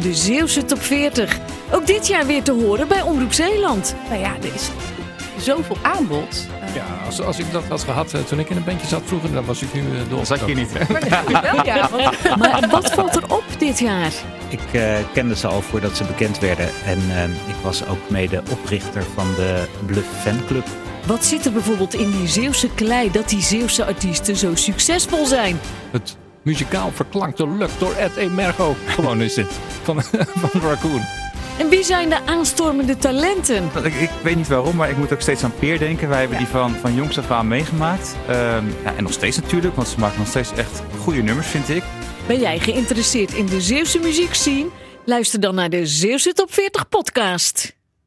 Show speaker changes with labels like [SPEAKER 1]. [SPEAKER 1] De Zeeuwse Top 40. Ook dit jaar weer te horen bij Omroep Zeeland.
[SPEAKER 2] Nou ja, er is zoveel aanbod.
[SPEAKER 3] Ja, als, als ik dat had gehad eh, toen ik in een bandje zat vroeger, dan was ik nu eh, de
[SPEAKER 4] Dat zat je niet.
[SPEAKER 3] opstap.
[SPEAKER 4] hè?
[SPEAKER 2] Maar dat vind ik wel, ja. Want
[SPEAKER 1] Maar wat valt er op dit jaar?
[SPEAKER 5] Ik eh, kende ze al voordat ze bekend werden. En eh, ik was ook mede oprichter van de Bluff Fanclub.
[SPEAKER 1] Wat zit er bijvoorbeeld in die Zeeuwse klei dat die Zeeuwse artiesten zo succesvol zijn?
[SPEAKER 3] Het muzikaal verklankte lukt door Ed Emergo. Gewoon is dit. Van, van Raccoon.
[SPEAKER 1] En wie zijn de aanstormende talenten?
[SPEAKER 4] Ik, ik weet niet waarom, maar ik moet ook steeds aan Peer denken. Wij hebben die van, van jongs af aan meegemaakt. Ehm, ja, en nog steeds natuurlijk, want ze maken nog steeds echt goede nummers, vind ik.
[SPEAKER 1] Ben jij geïnteresseerd in de Zeeuwse muziekscene? Luister dan naar de Zeeuwse Top 40 podcast.